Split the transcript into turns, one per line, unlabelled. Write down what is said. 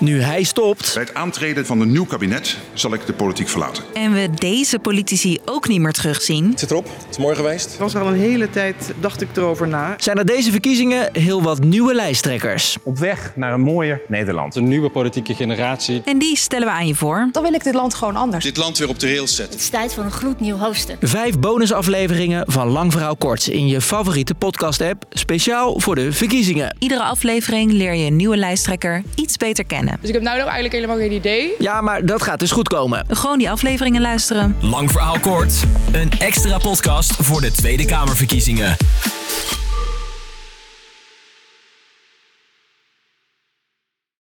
Nu hij stopt,
Bij het aantreden van een nieuw kabinet zal ik de politiek verlaten.
En we deze politici ook niet meer terugzien.
Het zit erop. Het is mooi geweest.
Het was al een hele tijd, dacht ik erover na.
zijn er deze verkiezingen heel wat nieuwe lijsttrekkers.
Op weg naar een mooier Nederland.
De nieuwe politieke generatie.
En die stellen we aan je voor.
Dan wil ik dit land gewoon anders.
Dit land weer op de rails zetten.
Het is tijd voor een gloednieuw hoofdstuk.
Vijf bonusafleveringen van Lang Verhaal Kort in je favoriete podcast-app, speciaal voor de verkiezingen.
Iedere aflevering leer je een nieuwe lijsttrekker iets beter kennen.
Dus ik heb nou nog eigenlijk helemaal geen idee.
Ja, maar dat gaat dus goed komen.
Gewoon die afleveringen luisteren.
Lang verhaal kort. Een extra podcast voor de Tweede Kamerverkiezingen.